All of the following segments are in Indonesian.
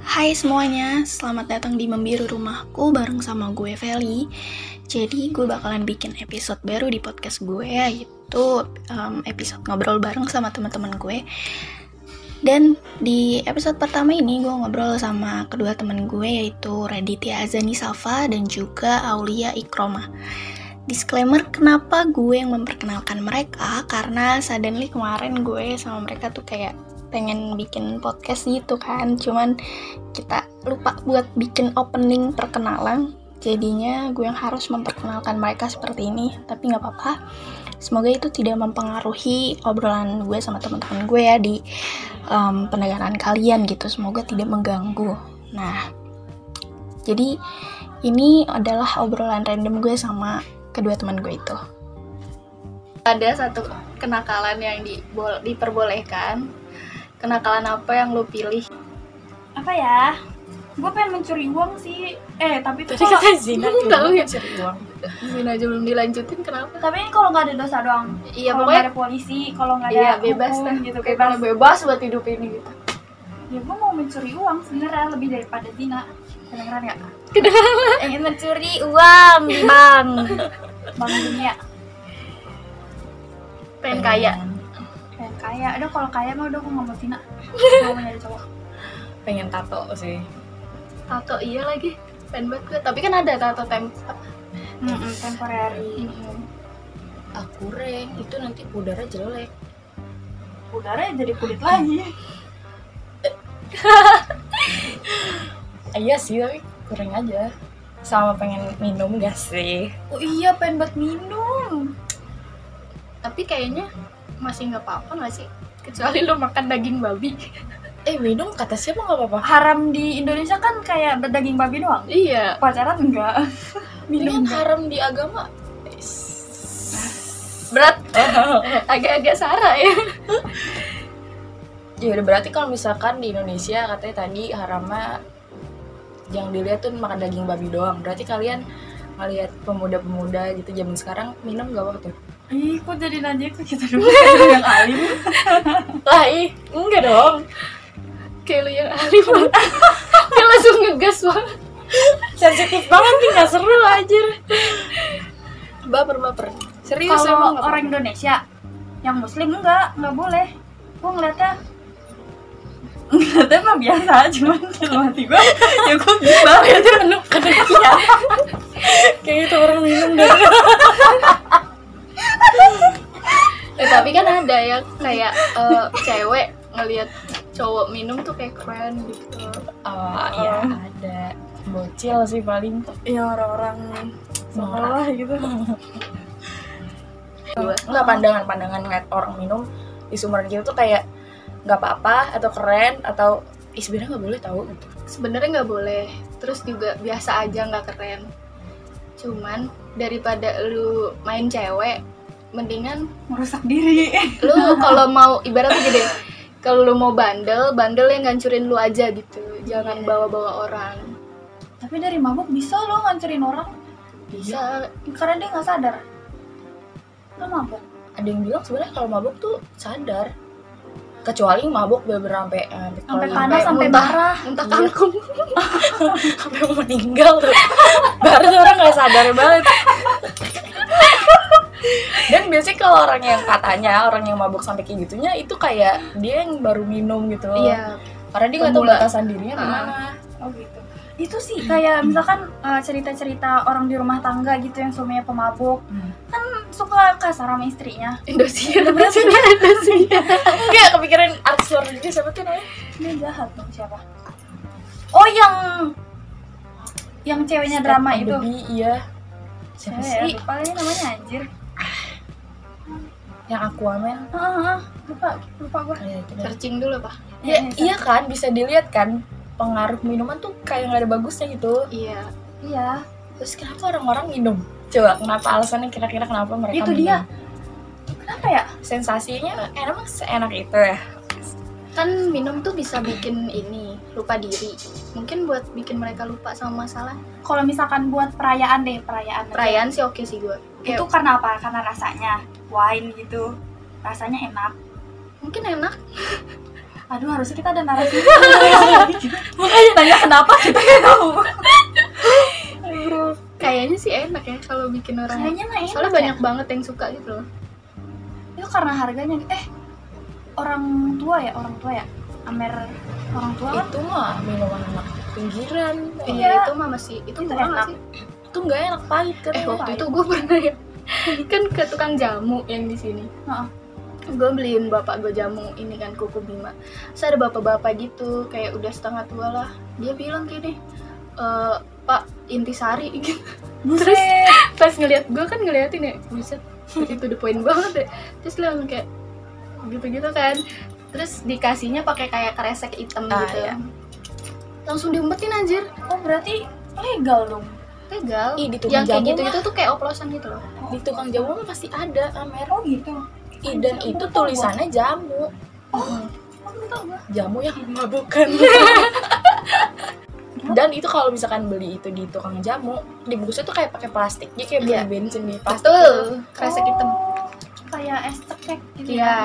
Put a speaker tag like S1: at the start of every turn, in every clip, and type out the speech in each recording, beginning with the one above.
S1: Hai semuanya, selamat datang di Membiru Rumahku bareng sama gue Feli Jadi gue bakalan bikin episode baru di podcast gue yaitu um, episode ngobrol bareng sama teman-teman gue Dan di episode pertama ini gue ngobrol sama kedua teman gue yaitu Raditya Azani Safa dan juga Aulia Ikroma Disclaimer, kenapa gue yang memperkenalkan mereka? Karena suddenly kemarin gue sama mereka tuh kayak pengen bikin podcast gitu kan cuman kita lupa buat bikin opening perkenalan jadinya gue yang harus memperkenalkan mereka seperti ini tapi nggak apa-apa semoga itu tidak mempengaruhi obrolan gue sama teman-teman gue ya di um, pendengaran kalian gitu semoga tidak mengganggu nah jadi ini adalah obrolan random gue sama kedua teman gue itu ada satu kenakalan yang dibol- diperbolehkan kenakalan apa yang lo pilih?
S2: apa ya gue pengen mencuri uang sih eh tapi itu
S3: Tadi
S2: kalau
S3: kita zina
S1: Enggak,
S3: tuh,
S1: enggak.
S3: cari uang.
S1: Zina aja belum dilanjutin kenapa?
S2: tapi ini kalau nggak ada dosa doang
S1: Iya
S2: kalau nggak
S1: pokoknya
S2: ada polisi kalau nggak ada
S1: iya bebas
S2: hukum,
S1: deh
S2: gitu
S1: gitu
S2: bebas
S1: bebas buat hidup ini gitu.
S2: ya gue mau mencuri uang sebenarnya lebih daripada zina kedengeran ya
S4: Pengen mencuri uang di bank.
S2: bang dunia
S1: Pengen kaya.
S2: kayak kaya ada kalau kaya mah udah gue nggak mau zina gue mau nyari cowok
S3: Pengen tato sih.
S1: Tato iya lagi. Pengen banget gue. Tapi kan ada tato tem.
S2: Mm-mm, temporary
S1: Ah,
S3: Akure, itu nanti pudara jelek.
S2: udaranya jadi kulit lagi
S3: Ah, Iya sih, tapi kurang aja. Sama pengen minum gak sih?
S2: oh iya pengen buat minum
S1: Tapi kayaknya masih nggak apa-apa nggak sih? Kecuali lo makan daging babi.
S3: Eh, minum kata siapa gak apa-apa?
S2: haram di Indonesia kan kayak berdaging babi doang
S1: Iya.
S2: pacaran enggak
S3: Minum haram di agama.
S1: Berat. Agak-agak sara ya.
S3: Ya udah berarti kalau misalkan di Indonesia katanya tadi haramnya yang dilihat tuh makan daging babi doang. Berarti kalian ngelihat pemuda-pemuda gitu zaman sekarang minum gak waktu?
S2: Ih, kok jadi nanya ke kita
S3: gitu?
S2: dulu yang alim?
S3: Lah ih, enggak dong.
S1: Kayak lo yang ahli banget. Dia langsung ngegas banget.
S3: sensitif banget nih nggak seru anjir baper baper serius
S2: Kalau
S3: emang nggak
S2: orang Indonesia yang muslim enggak, enggak boleh. Gua ngeliatnya ngeliatnya emang biasa aja, cuman dalam hati gua ya gua gila
S3: apa-apa. itu penuh kedekian kayak itu orang minum deh
S1: Eh, tapi kan ada yang kayak eh, cewek ngelihat cowok minum tuh kayak keren gitu.
S3: oh ya ada bocil sih paling
S2: ya orang-orang sekolah gitu
S1: Dua.
S3: nggak pandangan pandangan ngeliat orang minum di sumuran kita tuh kayak nggak apa-apa atau keren atau Ih, sebenarnya nggak boleh tahu gitu
S1: sebenarnya nggak boleh terus juga biasa aja nggak keren cuman daripada lu main cewek mendingan
S2: merusak diri
S1: lu kalau mau ibaratnya gede kalau lu mau bandel bandel yang ngancurin lu aja gitu jangan
S2: Iya.
S1: bawa-bawa orang
S2: tapi dari mabuk bisa lo ngancurin orang
S1: bisa
S2: karena dia nggak sadar lo mabuk
S3: ada yang bilang sebenarnya kalau mabuk tuh sadar kecuali mabuk beberapa sampai eh, Oh,
S2: sampai
S3: iya. sampai kalau
S2: panas sampai
S1: muntah.
S2: marah
S1: entah
S3: Iya.
S1: kangkung
S3: sampai mau meninggal tuh baru tuh orang nggak sadar banget dan biasanya kalau orang yang katanya orang yang mabuk sampai kayak gitunya itu kayak dia yang baru minum gitu loh
S1: iya
S3: karena dia nggak tahu
S1: Pemula.
S3: batasan dirinya
S1: Ah.
S3: gimana
S2: Oh gitu. Itu sih kayak misalkan eh, cerita-cerita orang di rumah tangga gitu yang suaminya pemabuk
S3: Hmm.
S2: kan suka kasar sama istrinya.
S1: Indosiar maksudnya Indosiar
S3: enggak kepikiran artis luar negeri siapa tuh namanya
S2: Ini jahat dong siapa? Oh yang yang ceweknya drama
S3: Step on
S2: itu.
S3: the Bee, iya siapa
S2: Cewek ya,
S3: sih
S2: lupa ini namanya anjir.
S3: yang Aquaman
S2: Heeh, heeh. lupa lupa gua.
S3: Kayak gitu deh.
S1: searching dulu pak
S2: Iya,
S3: ya, iya kan bisa dilihat kan pengaruh minuman tuh kayak nggak ada bagusnya gitu
S1: iya
S2: Iya.
S3: terus kenapa orang-orang minum coba kenapa alasannya kira-kira kenapa mereka
S2: Itu
S3: minum?
S2: dia. Kenapa ya?
S3: sensasinya emang seenak itu ya
S1: kan minum tuh bisa bikin ini lupa diri mungkin buat bikin mereka lupa sama masalah
S2: Kalau misalkan buat perayaan deh, perayaan. aja.
S1: perayaan sih oke sih gue
S2: Itu karena apa? Karena rasanya wine gitu. Rasanya enak.
S1: mungkin enak
S2: aduh harusnya kita ada narasi makanya tanya kenapa gitu. kita nggak tahu
S4: Kayaknya sih enak ya kalau bikin orang.
S2: kayaknya mah
S4: Soalnya
S2: enak
S4: banyak banget yang suka gitu loh.
S2: ya. itu karena harganya eh orang tua ya orang tua ya Amer orang tua kan
S3: itu mah minuman anak pinggiran
S2: Iya.
S4: Itu mah masih itu
S2: Itu
S4: murah nggak
S2: enak.
S4: sih?
S3: itu nggak enak pahit kan
S4: Eh waktu itu gue pernah ya kan ke tukang jamu yang di sini.
S2: Heeh.
S4: Gue beliin bapak gue jamu ini kan kuku bima. Terus ada bapak-bapak gitu kayak udah setengah tua lah. Dia bilang gini, e, Pak Intisari gitu.
S2: buset
S4: Pas ngeliat gue kan ngeliatin ya, buset itu the point banget ya. Terus dia langsung kayak gitu-gitu kan. Terus dikasihnya pakai kayak kresek hitam
S3: Ah,
S4: gitu.
S3: iya.
S4: Langsung diumpetin anjir.
S2: oh berarti legal dong
S4: Tegal.
S3: Ih, di tukang
S4: yang kayak
S3: jamu
S4: gitu-gitu tuh kayak oplosan gitu loh.
S3: di tukang jamu mah pasti ada amer
S2: oh gitu
S3: Ih, dan itu tulisannya jamu
S2: aku tahu gua
S3: jamu yang memabukkan
S2: Iya.
S3: dan itu kalau misalkan beli itu di tukang jamu dibungkusnya tuh kayak pakai plastik jadi kayak beli
S4: Iya.
S3: bensin di plastik tuh.
S4: Betul, kresek hitam.
S2: Oh, kayak es cekek gitu
S4: Iya.
S2: ya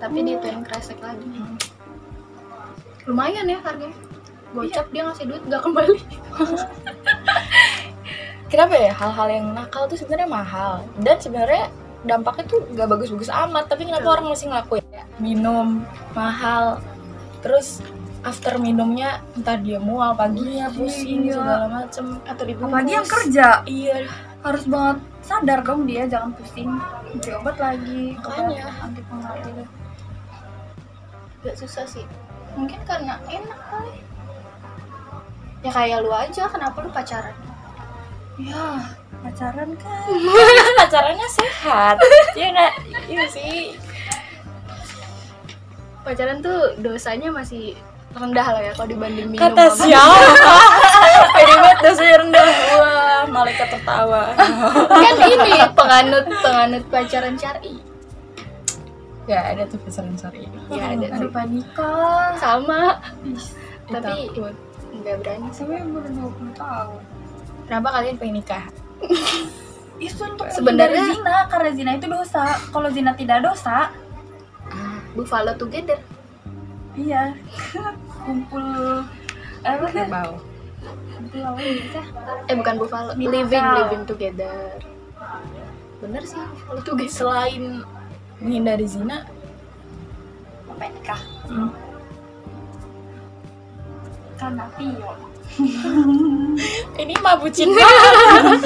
S4: Tapi dia tuh yang kresek lagi. Lumayan ya harganya. Gocap dia ngasih duit gak kembali.
S3: kenapa ya hal-hal yang nakal tuh sebenarnya mahal dan sebenarnya dampaknya tuh nggak bagus-bagus amat tapi kenapa orang masih ngelakuin Ya, minum mahal terus after minumnya entar dia mual paginya pusing
S2: Iya.
S3: segala macem
S4: Atau dibungkus.
S2: apalagi yang kerja
S3: iya
S2: harus banget sadar dong dia jangan pusing beli obat lagi
S3: Makanya.
S2: obat anti pengaruh gitu
S4: Gak susah sih. Mungkin karena enak kali. Ya kayak lu aja, kenapa lu pacaran? Iya
S2: ya pacaran kan
S3: pacarannya sehat ya nggak iya sih
S4: Pacaran tuh dosanya masih rendah lah ya kalau dibanding minum.
S3: kata
S4: sama-
S3: siapa pede banget dasarnya rendah wah malaikat tertawa
S4: Kan ini penganut penganut pacaran syar'i.
S3: nggak ada tuh pesan sorry
S4: Ya ada
S2: aduh
S4: sih.
S2: panikah
S4: Sama.
S3: tapi
S4: Tapi nggak berani.
S2: sampai umur 20 tahun
S3: kenapa kalian pengen nikah
S2: itu untuk sebenarnya
S4: Sebenarnya-
S2: zina karena zina itu dosa kalau zina tidak dosa
S4: Ah. Buffalo together.
S2: iya kumpul apa tuh?
S3: bau
S2: kumpul apa ya
S4: Eh bukan buffalo,
S2: Minimal.
S4: living living together. Bener sih, buffalo together.
S3: selain menghindari zina
S2: sampai nikah
S4: Hmm.
S2: karena Tio
S3: ini mah bucin banget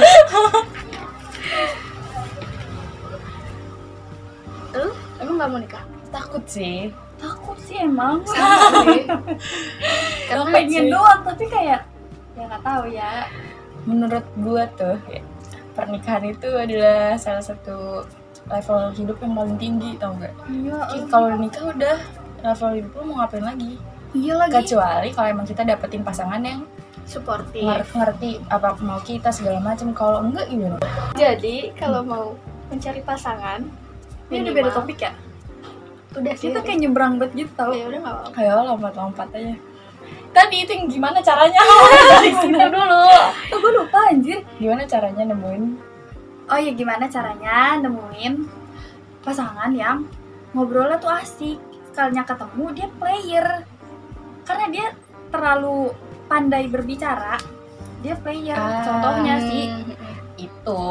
S4: Lu emang nggak mau nikah?
S3: takut sih
S2: takut sih emang
S4: Sama gue.
S3: Lo
S4: Karena
S2: pengen
S3: sih.
S2: doang tapi kayak ya nggak tahu ya
S3: menurut gua tuh ya, pernikahan itu adalah salah satu level hidup yang paling tinggi tau gak
S2: iya
S4: Oh.
S3: Ki, kalau udah nikah udah level hidup lu mau ngapain lagi
S4: iya lagi
S3: kecuali kalau emang kita dapetin pasangan yang
S4: supportive.
S3: ngerti, ngerti apa mau kita segala macam kalau enggak gimana
S4: Jadi kalau mau mencari pasangan,
S2: ini udah
S4: Hmm. minimal-
S2: beda topik ya
S4: Udah sih.
S2: kita kayak nyebrang banget gitu tau
S4: ya udah nggak apa-apa.
S3: ayo lompat-lompat aja tadi itu yang gimana caranya
S4: Oh, iya,
S3: Itu dulu
S2: oh, gue lupa anjir
S3: gimana caranya nemuin
S2: oh ya gimana caranya nemuin pasangan yang ngobrolnya tuh asik sekalinya ketemu dia player karena dia terlalu pandai berbicara dia player
S3: Ah.
S2: contohnya
S4: Iya
S2: sih
S4: Hmm.
S3: itu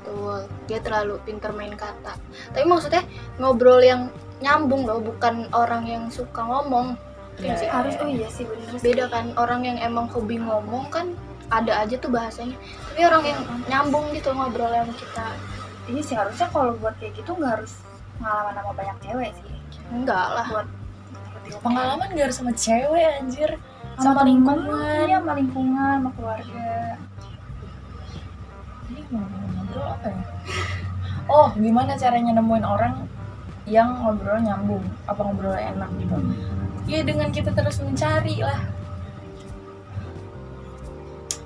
S4: Betul. Dia terlalu pinter main kata. Tapi maksudnya ngobrol yang nyambung loh, bukan orang yang suka ngomong. Iya sih.
S2: harus oh iya sih bener sih.
S4: beda kan orang yang emang hobi ngomong kan ada aja tuh bahasanya tapi orang yang nyambung gitu ngobrol sama kita
S2: ini iya sih harusnya kalau buat kayak gitu nggak harus pengalaman sama banyak cewek sih Iya.
S4: enggak lah
S3: pengalaman gak harus sama cewek anjir
S2: sama
S3: sama
S2: lingkungan
S3: lingkungan.
S2: iya sama lingkungan sama keluarga
S3: Ini mau ngobrol Iya, apa ya? Oh, gimana caranya nemuin orang yang ngobrol nyambung? Apa ngobrol enak gitu? Ya dengan kita terus mencari lah.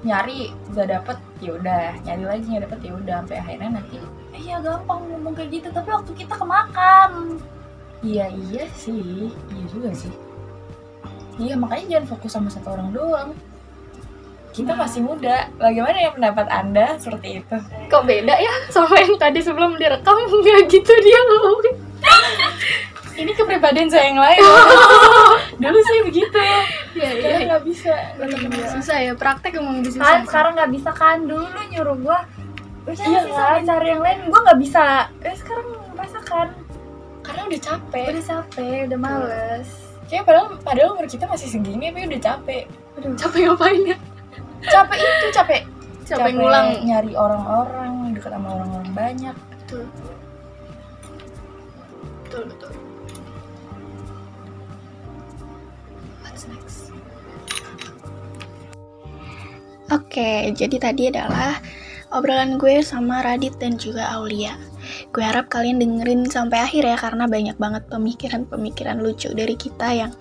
S3: Nyari udah dapet, ya udah. Nyari lagi nggak dapet, ya udah. Sampai akhirnya nanti.
S2: iya gampang ngomong kayak gitu tapi waktu kita kemakan
S3: Iya iya sih, iya juga sih. Iya makanya jangan fokus sama satu orang doang. Kita
S2: Nah.
S3: masih muda. Bagaimana ya pendapat anda seperti itu?
S4: kok beda ya sama yang tadi sebelum direkam nggak gitu dia ngomongnya
S3: ini kepribadian saya yang lain dulu saya begitu
S4: Iya, iya.
S3: saya nggak bisa nggak
S4: Iya,
S3: terbiasa.
S4: Susah ya praktek emang lebih susah.
S2: kan sekarang nggak bisa kan dulu nyuruh gua udah
S3: Iya
S2: iya,
S3: kan?
S2: cari yang lain gua nggak bisa eh sekarang merasakan
S3: karena udah capek
S2: udah capek udah males
S3: kayak padahal padahal umur kita masih segini tapi udah capek
S2: Aduh.
S4: capek ngapain ya?
S3: capek itu capek
S4: Capek ngulang.
S3: nyari orang-orang dekat sama orang-orang banyak
S4: Betul. Betul, betul. What's next?
S1: Oke, jadi tadi adalah obrolan gue sama Radit dan juga Aulia. Gue harap kalian dengerin sampai akhir ya karena banyak banget pemikiran-pemikiran lucu dari kita yang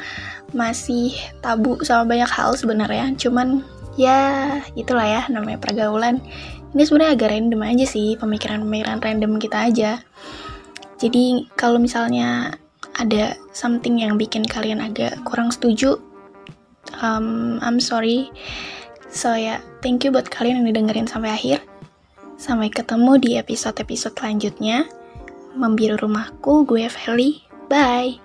S1: masih tabu sama banyak hal sebenarnya. Cuman ya itulah ya namanya pergaulan. Ini sebenarnya agak random aja sih pemikiran-pemikiran random kita aja. Jadi kalau misalnya ada something yang bikin kalian agak kurang setuju, um, I'm sorry. So ya, thank you buat kalian yang didengerin sampai akhir. Sampai ketemu di episode-episode selanjutnya. Membiru rumahku, gue Feli. Bye!